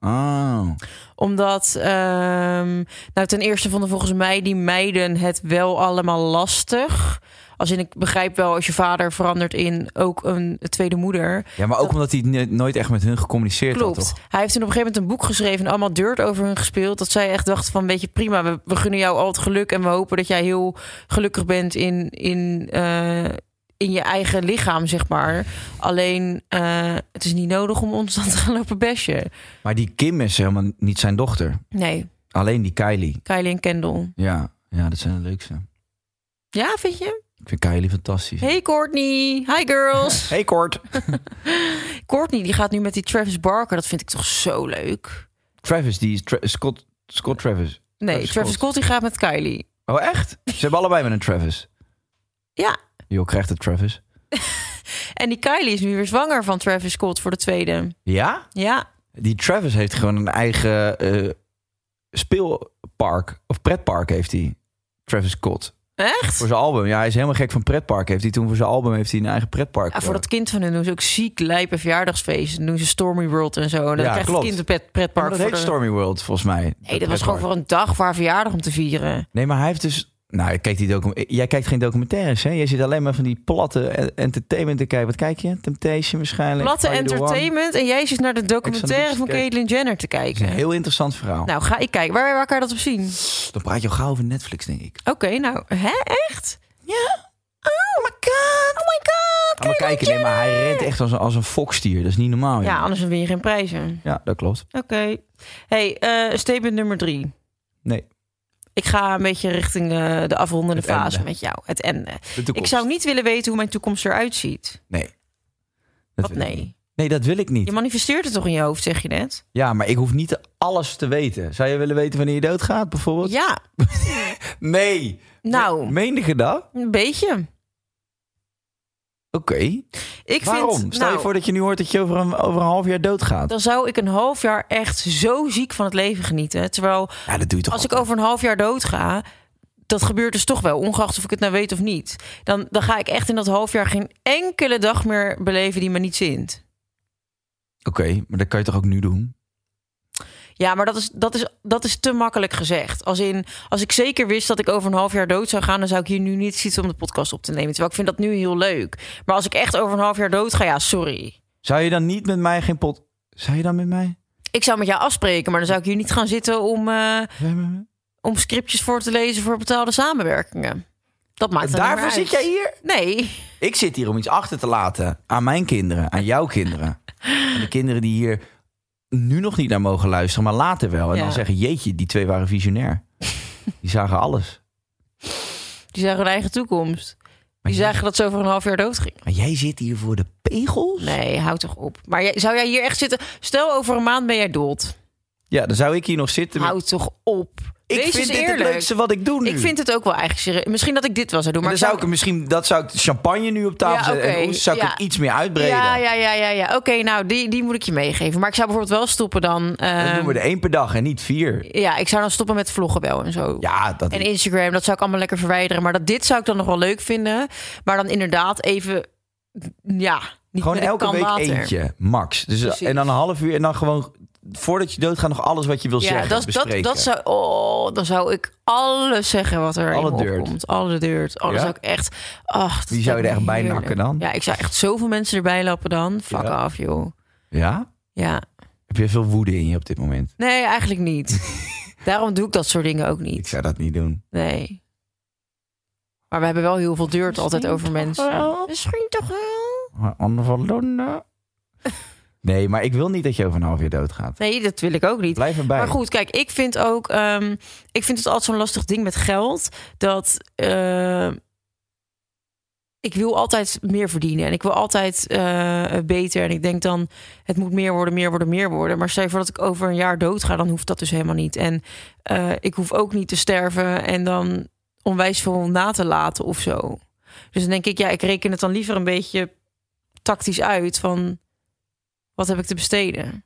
E: Ja,
C: Oh.
E: omdat. ehm, nou, ten eerste vonden volgens mij die meiden het wel allemaal lastig. Als in, ik begrijp wel, als je vader verandert in ook een tweede moeder.
C: Ja, maar ook omdat hij ne- nooit echt met hun gecommuniceerd had,
E: Klopt.
C: toch?
E: Hij heeft toen op een gegeven moment een boek geschreven en allemaal dirt over hun gespeeld. Dat zij echt dacht van, weet je, prima, we, we gunnen jou al het geluk en we hopen dat jij heel gelukkig bent in, in, eh, in je eigen lichaam, zeg maar. Alleen, eh, het is niet nodig om ons dan te gaan lopen bashen.
C: Maar die Kim is helemaal niet zijn dochter.
E: Nee,
C: Alleen die Kylie.
E: Kylie en Kendall.
C: Ja, ja dat zijn de leukste.
E: Ja, vind je?
C: Ik vind Kylie fantastisch.
E: Hey Courtney, hi girls.
C: hey Kort.
E: Courtney, die gaat nu met die Travis Barker. Dat vind ik toch zo leuk.
C: Travis, die is Tra- Scott, Scott Travis.
E: Nee, Travis, Scott die gaat met Kylie.
C: Oh, echt? Ze hebben allebei met een Travis.
E: Ja,
C: Jo, krijgt het Travis.
E: en die Kylie is nu weer zwanger van Travis Scott voor de tweede.
C: Ja?
E: Ja,
C: Die Travis heeft gewoon een eigen eh, speelpark. Of pretpark heeft hij. Travis Scott.
E: echt?
C: Voor zijn album. Ja, hij is helemaal gek van pretpark. Heeft hij toen voor zijn album heeft hij een eigen pretpark.
E: Ja, voor dat kind van hun doen ze ook ziek lijpe verjaardagsfeest. Dan doen ze Stormy World en zo. En dan
C: Ja,
E: krijgt
C: klopt.
E: het kind een pret,
C: Maar
E: pretpark.
C: dat
E: voor
C: heet
E: de-
C: Stormy World, volgens mij.
E: Nee, dat was gewoon
C: pretpark.
E: voor een dag voor haar verjaardag om te vieren.
C: Nee, maar hij heeft dus... Nou, kijk die docu- jij kijkt geen documentaires, hè? Jij zit alleen maar van die platte eh, entertainment te kijken. Wat kijk je? Temptation waarschijnlijk.
E: Platte
C: Are You the One?
E: entertainment. En jij zit naar de documentaire
C: Beach
E: van
C: te kijken.
E: Caitlyn Jenner te
C: Dat is
E: kijken.
C: een heel interessant verhaal.
E: Nou, ga ik kijken. Waar, waar kan je dat op zien?
C: Dan praat je al gauw over Netflix, denk ik.
E: Oké, nou, hè? Echt?
C: Ja.
E: Oh my god! Oh my god!
C: Ga maar
E: Caitlyn
C: kijken. Nee, maar hij
E: Jenner!
C: rent echt als een, als een fokstier. Dat is niet normaal.
E: Ja,
C: Ja,
E: anders win je geen prijzen.
C: ja dat klopt.
E: Oké. Hey, eh, statement nummer drie.
C: Nee,
E: Ik ga een beetje richting eh, de afrondende
C: Het
E: fase
C: einde.
E: met jou. Het einde.
C: toekomst.
E: Ik zou niet willen weten hoe mijn toekomst eruit ziet.
C: nee. Dat
E: Wat
C: wil ik
E: nee?
C: niet. Nee, dat wil ik
E: Je
C: niet.
E: manifesteert het toch in je hoofd, zeg je net?
C: Ja, maar ik hoef niet alles te weten. Zou je willen weten wanneer je doodgaat, bijvoorbeeld?
E: Ja,
C: Nee.
E: nou,
C: Meende je dat? Oké.
E: een beetje. Ik
C: Waarom?
E: Vind,
C: Stel
E: nou,
C: je voor dat je nu hoort dat je over een, over een half jaar doodgaat.
E: Dan zou ik een half jaar echt zo ziek van het leven genieten. Terwijl
C: Ja, dat doe je toch
E: als ik
C: altijd?
E: over een half jaar dood ga, dat gebeurt dus toch wel, ongeacht of ik het nou weet of niet. Dan, dan ga ik echt in dat half jaar geen enkele dag meer beleven die me niet zint.
C: Oké, maar dat kan je toch ook nu doen?
E: Ja, maar dat is, dat, is, dat is te makkelijk gezegd. Als, in, als ik zeker wist dat ik over een half jaar dood zou gaan, dan zou ik hier nu niet zitten om de podcast op te nemen. Terwijl ik vind dat nu heel leuk. Maar als ik echt over een half jaar dood ga, ja, sorry.
C: Zou je dan niet met mij geen pot... Zou je dan met mij?
E: Ik zou met jou afspreken, maar dan zou ik hier niet gaan zitten om, eh,
C: Zou je met mij?
E: om scriptjes voor te lezen voor betaalde samenwerkingen. Dat maakt dan niet
C: Daarvoor
E: meer
C: zit
E: uit.
C: jij hier?
E: Nee,
C: Ik zit hier om iets achter te laten aan mijn kinderen, aan jouw kinderen. Aan de kinderen die hier nu nog niet naar mogen luisteren, maar later wel. En
E: Ja.
C: dan zeggen, jeetje, die twee waren visionair. Die zagen alles.
E: Die zagen hun eigen toekomst. Die
C: jij-
E: zagen dat ze over een half jaar dood ging.
C: Maar jij zit hier voor de pegels?
E: Nee, houd toch op. Maar jij- zou jij hier echt zitten? Stel, over een maand ben jij dood.
C: Ja, dan zou ik hier nog zitten. met-
E: Houd toch op.
C: ik
E: Wees
C: vind
E: eens
C: dit
E: eerlijk.
C: het leukste wat ik doe nu.
E: Ik vind het ook wel eigenlijk serieus. Misschien dat ik dit wel zou doen.
C: maar
E: Maar
C: Hmm. dan zou ik misschien, dat zou ik champagne nu op tafel
E: Ja,
C: zetten. En
E: oké,
C: oeh, zou ik
E: ja.
C: het iets meer uitbreden.
E: Ja, ja, ja, ja. ja. Oké, nou, die, die moet ik je meegeven. Maar ik zou bijvoorbeeld wel stoppen dan...
C: Dan
E: ehm,
C: doen we er één per dag en niet vier.
E: Ja, ik zou dan stoppen met vloggen wel en zo.
C: Ja, dat
E: En Instagram, dat zou ik allemaal lekker verwijderen. Maar dat, dit zou ik dan nog wel leuk vinden. Maar dan inderdaad even... Ja, niet
C: Gewoon
E: met een
C: elke
E: kan
C: week
E: water.
C: eentje, max. Dus,
E: Precies.
C: en dan een half uur en dan gewoon... Voordat je doodgaat nog alles wat je wil
E: Ja,
C: zeggen,
E: dat, dat,
C: bespreken.
E: dat zou. Oh, dan zou ik alles zeggen wat er
C: Alle
E: in me
C: deurt.
E: opkomt. Alle deurt. Alles
C: Ja?
E: zou ik echt. Ach, dat
C: Wie zou je er echt
E: lijkt me
C: bij
E: heerlijk.
C: nakken dan?
E: Ja, ik zou echt zoveel mensen erbij lappen dan. Fuck
C: Ja.
E: af, joh.
C: Ja?
E: Ja.
C: Heb je veel woede in je op dit moment?
E: Nee, eigenlijk niet. Daarom doe ik dat soort dingen ook
C: Ik
E: niet.
C: zou dat niet doen.
E: Nee. Maar we hebben wel heel veel deurt altijd over mensen. Misschien toch wel?
C: Maar onvoldoende. Nee, maar ik wil niet dat je over een half jaar doodgaat.
E: Nee, dat wil ik ook niet.
C: Blijf erbij.
E: Maar goed, kijk, ik vind ook, ehm, ik vind het altijd zo'n lastig ding met geld dat eh, ik wil altijd meer verdienen en ik wil altijd eh, beter en ik denk dan het moet meer worden, meer worden, meer worden. Maar stel je voor dat ik over een jaar dood ga, dan hoeft dat dus helemaal niet. En eh, ik hoef ook niet te sterven en dan onwijs veel na te laten of zo. Dus dan denk ik, ja, ik reken het dan liever een beetje tactisch uit van wat heb ik te besteden.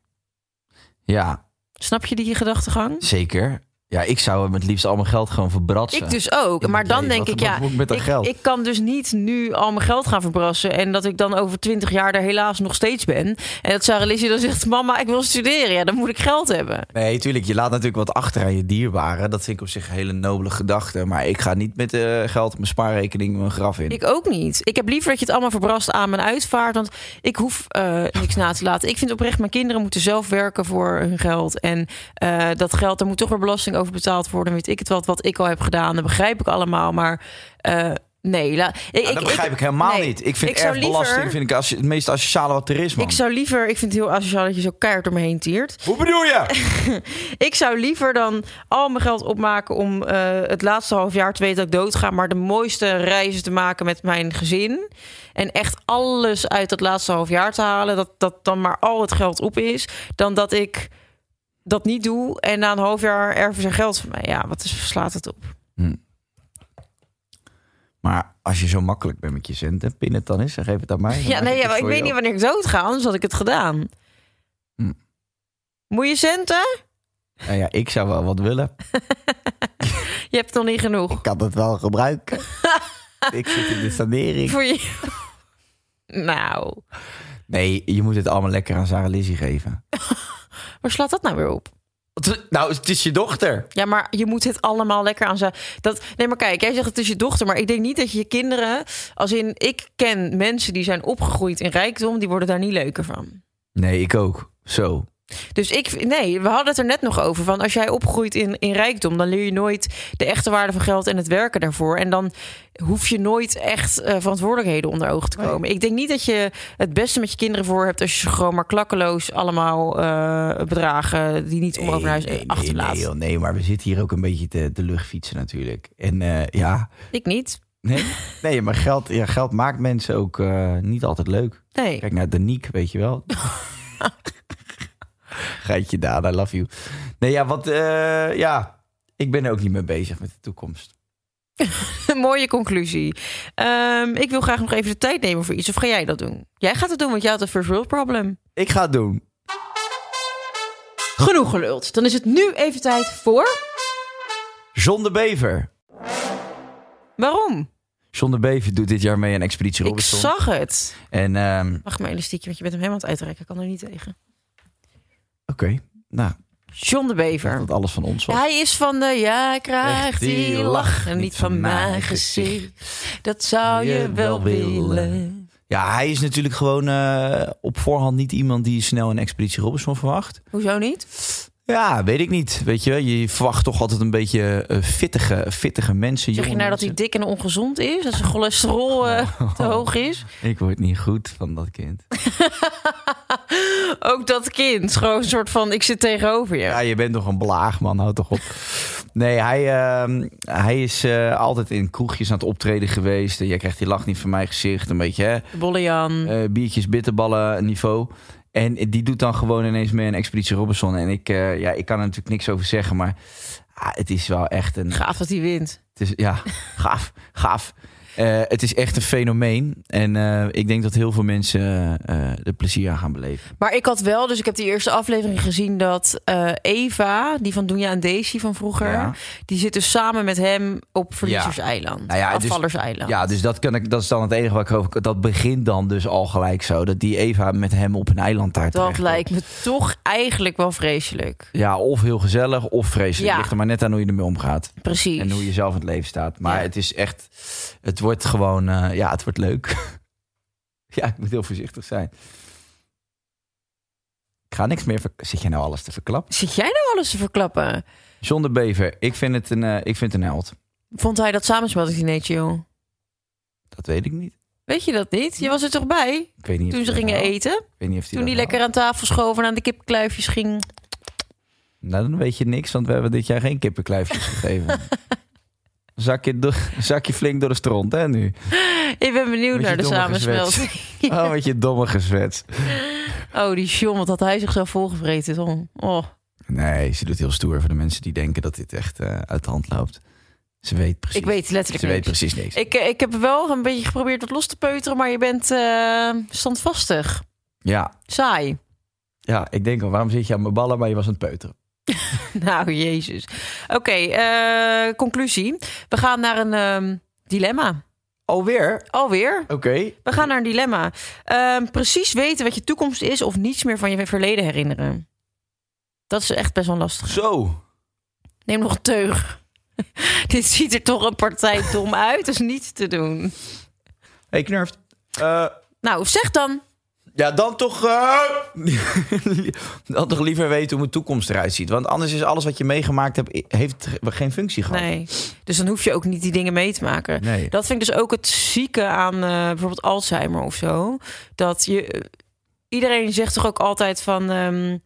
C: Ja,
E: Snap je die gedachtegang?
C: zeker. Ja, ik zou hem het liefst al mijn geld gewoon verbratsen.
E: Ik dus ook.
C: In
E: Maar
C: het
E: dan
C: leven. Wat-
E: denk ik,
C: wat
E: ja,
C: moet ik met dat geld?
E: ik kan dus niet nu al mijn geld gaan verbrassen. En dat ik dan over twintig jaar er helaas nog steeds ben. En dat Sarah Lizzie dan zegt, mama, ik wil studeren. Ja, dan moet ik geld hebben.
C: Nee, tuurlijk. Je laat natuurlijk wat achter aan je dierbaren. Dat vind ik op zich een hele nobele gedachte. Maar ik ga niet met eh, geld op mijn spaarrekening mijn graf in.
E: Ik ook niet. Ik heb liever dat je het allemaal verbrast aan mijn uitvaart. Want ik hoef eh, niks na te laten. Ik vind oprecht, mijn kinderen moeten zelf werken voor hun geld. En eh, dat geld, daar moet toch weer belasting over betaald worden. Weet ik het wat, wat ik al heb gedaan. Dat begrijp ik allemaal. Maar eh, nee. la- ik,
C: Nou, dat begrijp ik, helemaal
E: nee.
C: niet. Ik vind
E: zou
C: erfbelasting
E: liever-
C: vind ik als, het meest asociale wat er is, man.
E: Ik zou liever, ik vind het heel asociaal dat je zo keihard door me heen tiert.
C: Hoe bedoel je?
E: Ik zou liever dan al mijn geld opmaken om eh, het laatste half jaar te weten dat ik dood ga, maar de mooiste reizen te maken met mijn gezin. En echt alles uit dat laatste half jaar te halen, dat, dat dan maar al het geld op is, dan dat ik dat niet doe en na een half jaar erven ze geld van mij. Ja, wat is, slaat het op?
C: Maar als je zo makkelijk bent met je centen, pin het dan eens en geef het aan mij. Dan
E: Ja,
C: maak
E: nee,
C: ik
E: ja,
C: het
E: maar ik
C: voor
E: weet
C: je
E: niet
C: op.
E: wanneer ik dood ga, anders had ik het gedaan.
C: Hm.
E: Moet je centen?
C: Nou ja, ik zou wel wat willen.
E: Je hebt nog niet genoeg.
C: Ik kan het wel gebruiken. ik zit in de sanering.
E: Voor je... Nou,
C: Nee, je moet het allemaal lekker aan Sarah Lizzie geven.
E: waar slaat dat nou weer op?
C: Nou, het is je dochter.
E: Ja, maar je moet het allemaal lekker aan zijn. Dat, nee, maar kijk, jij zegt het is je dochter, maar ik denk niet dat je je kinderen, als in ik ken mensen die zijn opgegroeid in rijkdom, die worden daar niet leuker van.
C: Nee, ik ook. Zo.
E: Dus ik, nee, we hadden het er net nog over van als jij opgroeit in, in rijkdom, dan leer je nooit de echte waarde van geld en het werken daarvoor. En dan hoef je nooit echt eh, verantwoordelijkheden onder ogen te komen. Ik denk niet dat je het beste met je kinderen voor hebt als je ze gewoon maar klakkeloos allemaal eh, bedragen die niet om over huis
C: nee, nee,
E: achterlaat.
C: nee, joh, nee, maar we zitten hier ook een beetje te, de lucht fietsen natuurlijk. En eh, ja,
E: Ik niet.
C: nee, nee maar geld, ja, geld maakt mensen ook eh, niet altijd leuk.
E: Nee.
C: Kijk naar Danique, weet je wel. Geitje Daan, I love you. Nee, ja, wat, eh, ja, ik ben er ook niet mee bezig met de toekomst.
E: Een mooie conclusie. Ehm, ik wil graag nog even de tijd nemen voor iets. Of ga jij dat doen? Jij gaat het doen, want jij had een first world problem.
C: Ik ga het doen.
E: Genoeg geluld. Dan is het nu even tijd voor...
C: John de Bever.
E: Waarom?
C: John de Bever doet dit jaar mee aan Expeditie
E: Ik
C: Robinson.
E: zag het.
C: En, ehm,
E: Mag mijn elastiekje, want je bent hem helemaal aan het uitrekken. Ik kan er niet tegen.
C: oké, nou,
E: John de
C: dat
E: Bever.
C: het alles van ons was.
E: Hij is van de... Ja, krijgt die lach. En niet van mijn gezicht. Dat zou je wel willen.
C: Ja, hij is natuurlijk gewoon eh, op voorhand niet iemand die snel een Expeditie Robinson verwacht.
E: Hoezo niet?
C: Ja, weet ik niet. Weet je, wel, je verwacht toch altijd een beetje eh, fittige, fittige mensen.
E: Zeg je
C: jonge
E: nou dat hij
C: mensen.
E: dik en ongezond is? Dat zijn cholesterol eh, te hoog is?
C: Ik word niet goed van dat kind.
E: Ook dat kind. Gewoon een soort van, ik zit tegenover je.
C: Ja, je bent toch een blaag, man. Houd toch op. Nee, hij, ehm, hij is eh, altijd in kroegjes aan het optreden geweest. Jij krijgt die lach niet van mijn gezicht. Een beetje, hè?
E: Mm. Bollejan.
C: eh, biertjes, bitterballen niveau. En die doet dan gewoon ineens mee een Expeditie Robinson. En ik, eh, ja, ik kan er natuurlijk niks over zeggen, maar ah, het is wel echt een...
E: Gaaf dat hij wint.
C: Het is, ja, gaaf, gaaf. Eh, het is echt een fenomeen. En eh, ik denk dat heel veel mensen eh, er plezier aan gaan beleven.
E: Maar ik had wel, dus ik heb die eerste aflevering gezien dat eh, Eva, die van Doenja en Daisy van vroeger,
C: Ja.
E: die zit dus samen met hem op Verliezerseiland.
C: Nou ja, dus-
E: Afvallerseiland.
C: Ja, dus dat, kan ik, dat is dan het enige waar ik over... Dat begint dan dus al gelijk zo. Dat die Eva met hem op een eiland daar
E: dat
C: terechtkomt.
E: lijkt me toch eigenlijk wel vreselijk.
C: Ja, of heel gezellig of vreselijk.
E: Ja.
C: Ligt er maar net aan hoe je ermee omgaat.
E: Precies.
C: En hoe je zelf in het leven staat. Maar
E: Ja.
C: het is echt, het wordt gewoon, eh, ja, het wordt leuk. ja, ik moet heel voorzichtig zijn. Ik ga niks meer, verk- zit jij nou alles te verklappen?
E: Zit jij nou alles te verklappen?
C: John de Bever, ik vind het een, eh, ik vind het een held.
E: Vond hij dat samensmeltingsdineetje, joh?
C: Dat weet ik niet.
E: Weet je dat niet? Je was er toch bij?
C: Ik weet niet of
E: Toen ze
C: die dat
E: gingen
C: nou-
E: eten?
C: Ik weet niet of die
E: Toen die
C: dat
E: lekker aan tafel schoven en aan de kipkluifjes ging.
C: Nou, dan weet je niks, want we hebben dit jaar geen kippenkluifjes gegeven. Zak je, door- zak je flink door de stront, hè, nu?
E: Ik ben
C: Met
E: benieuwd
C: je
E: naar de
C: domme
E: samensmelting.
C: Oh, wat je domme gezwets.
E: Oh, die John, wat had hij zichzelf volgevreten, Tom. Oh.
C: Nee, ze doet heel stoer voor de mensen die denken dat dit echt eh, uit de hand loopt. Ze weet precies.
E: Ik weet letterlijk
C: Ze weet
E: niks.
C: precies niks.
E: Ik, eh, ik heb wel een beetje geprobeerd wat los te peuteren, maar je bent eh, standvastig.
C: Ja,
E: Saai.
C: ja, ik denk al, waarom zit je aan mijn ballen, maar je was aan het peuteren.
E: Nou, jezus. Oké, eh, conclusie. We gaan naar een ehm, dilemma.
C: Alweer?
E: Alweer.
C: Oké.
E: We gaan naar een dilemma. Ehm, precies weten wat je toekomst is of niets meer van je verleden herinneren. Dat is echt best wel lastig.
C: Zo.
E: Neem nog een teug. Dit ziet er toch een partij dom uit. Dat is niet te doen.
C: Hey, knurft. Eh,
E: Nou, zeg dan.
C: ja, dan toch, eh, dan toch liever weten hoe mijn toekomst eruit ziet. Want anders is alles wat je meegemaakt hebt, i- heeft geen functie gehad.
E: Nee. Dus dan hoef je ook niet die dingen mee te maken.
C: Nee.
E: Dat vind ik dus ook het zieke aan eh, bijvoorbeeld Alzheimer of zo. Dat je. Iedereen zegt toch ook altijd van. ehm,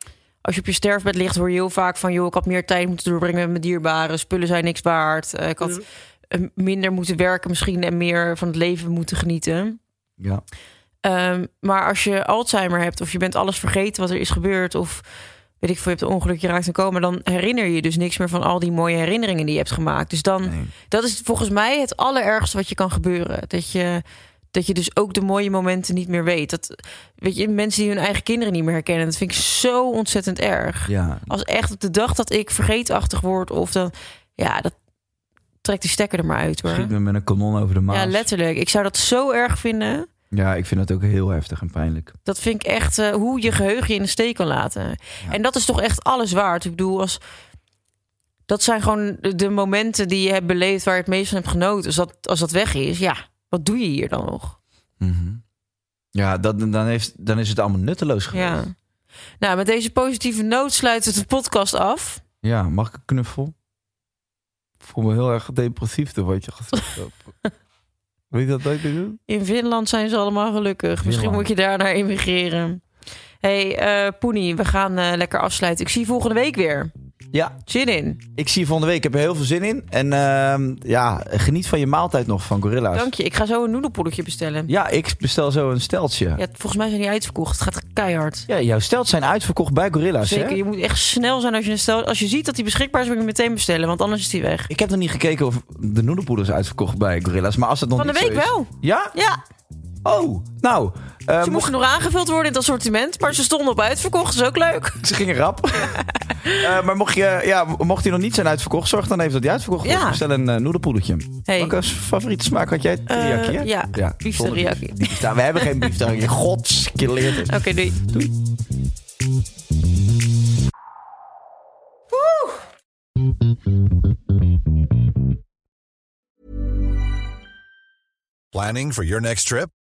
E: als je op je sterfbed ligt, hoor je heel vaak van: joh, ik had meer tijd moeten doorbrengen met mijn dierbaren. Spullen zijn niks waard. Eh, ik had eh, minder moeten werken misschien en meer van het leven moeten genieten.
C: Ja.
E: Ehm, maar als je Alzheimer hebt of je bent alles vergeten wat er is gebeurd of weet ik veel, je hebt een ongeluk, je raakt een coma, dan herinner je je dus niks meer van al die mooie herinneringen die je hebt gemaakt. Dus dan,
C: Nee.
E: dat is volgens mij het allerergste wat je kan gebeuren. Dat je, dat je dus ook de mooie momenten niet meer weet. Dat, weet je, mensen die hun eigen kinderen niet meer herkennen, dat vind ik zo ontzettend erg.
C: Ja.
E: Als echt op de dag dat ik vergeetachtig word of dan, ja, dat trekt die stekker er maar uit hoor.
C: Schiet me met een kanon over de maas.
E: Ja, letterlijk. Ik zou dat zo erg vinden.
C: Ja, ik vind dat ook heel heftig en pijnlijk.
E: Dat vind ik echt eh, hoe je geheugen je in de steek kan laten. En dat is toch echt alles waard. Ik bedoel, als, dat zijn gewoon de, de momenten die je hebt beleefd waar je het meest van hebt genoten. Dus dat, als dat weg is, ja, wat doe je hier dan nog?
C: Mhm. Ja, dat, dan, heeft, dan is het allemaal nutteloos geweest.
E: Ja. Nou, met deze positieve noot sluiten we de podcast af.
C: Ja, mag ik een knuffel? Ik voel me heel erg depressief door wat je gezegd hebt. Weet je dat leuk te doen?
E: In Finland zijn ze allemaal gelukkig. Misschien
C: Finland.
E: moet je daar naar immigreren. hey, eh Poenie, we gaan eh, lekker afsluiten. Ik zie je volgende week weer.
C: Ja,
E: Zin in.
C: ik zie je volgende week. Ik heb er heel veel zin in. En ehm, ja, geniet van je maaltijd nog van Gorilla's.
E: Dank je. Ik ga zo een noedelpoedertje bestellen.
C: Ja, ik bestel zo een steltje. Ja.
E: Ja, volgens mij zijn die uitverkocht. Het gaat keihard.
C: jouw stelt zijn uitverkocht bij Gorilla's.
E: Zeker,
C: Hè?
E: je moet echt snel zijn als je, een stel, als je ziet dat hij beschikbaar is, moet je hem meteen bestellen, want anders is hij weg.
C: Ik heb nog niet gekeken of de noedelpoeder is uitverkocht bij Gorilla's. Maar als dat nog
E: Van de
C: niet zo
E: week
C: is-
E: wel.
C: Ja?
E: Ja,
C: Oh, nou. eh,
E: ze moesten nog aangevuld worden in het assortiment, maar ze stonden op uitverkocht, is ook leuk.
C: Ze gingen rap. Eh, maar mocht, je, ja, mocht die nog niet zijn uitverkocht, zorg dan even dat die uitverkocht wordt.
E: Ja.
C: Bestel een eh, noedelpoedertje.
E: Hey.
C: Welke favoriete smaak had jij? Teriyaki, hè?
E: Eh, ja, beef
C: zonder
E: teriyaki.
C: beef- beef teriyaki. We hebben geen beef teriyaki. Gods, je leert het.
E: Oké, doei.
F: Planning for your next trip?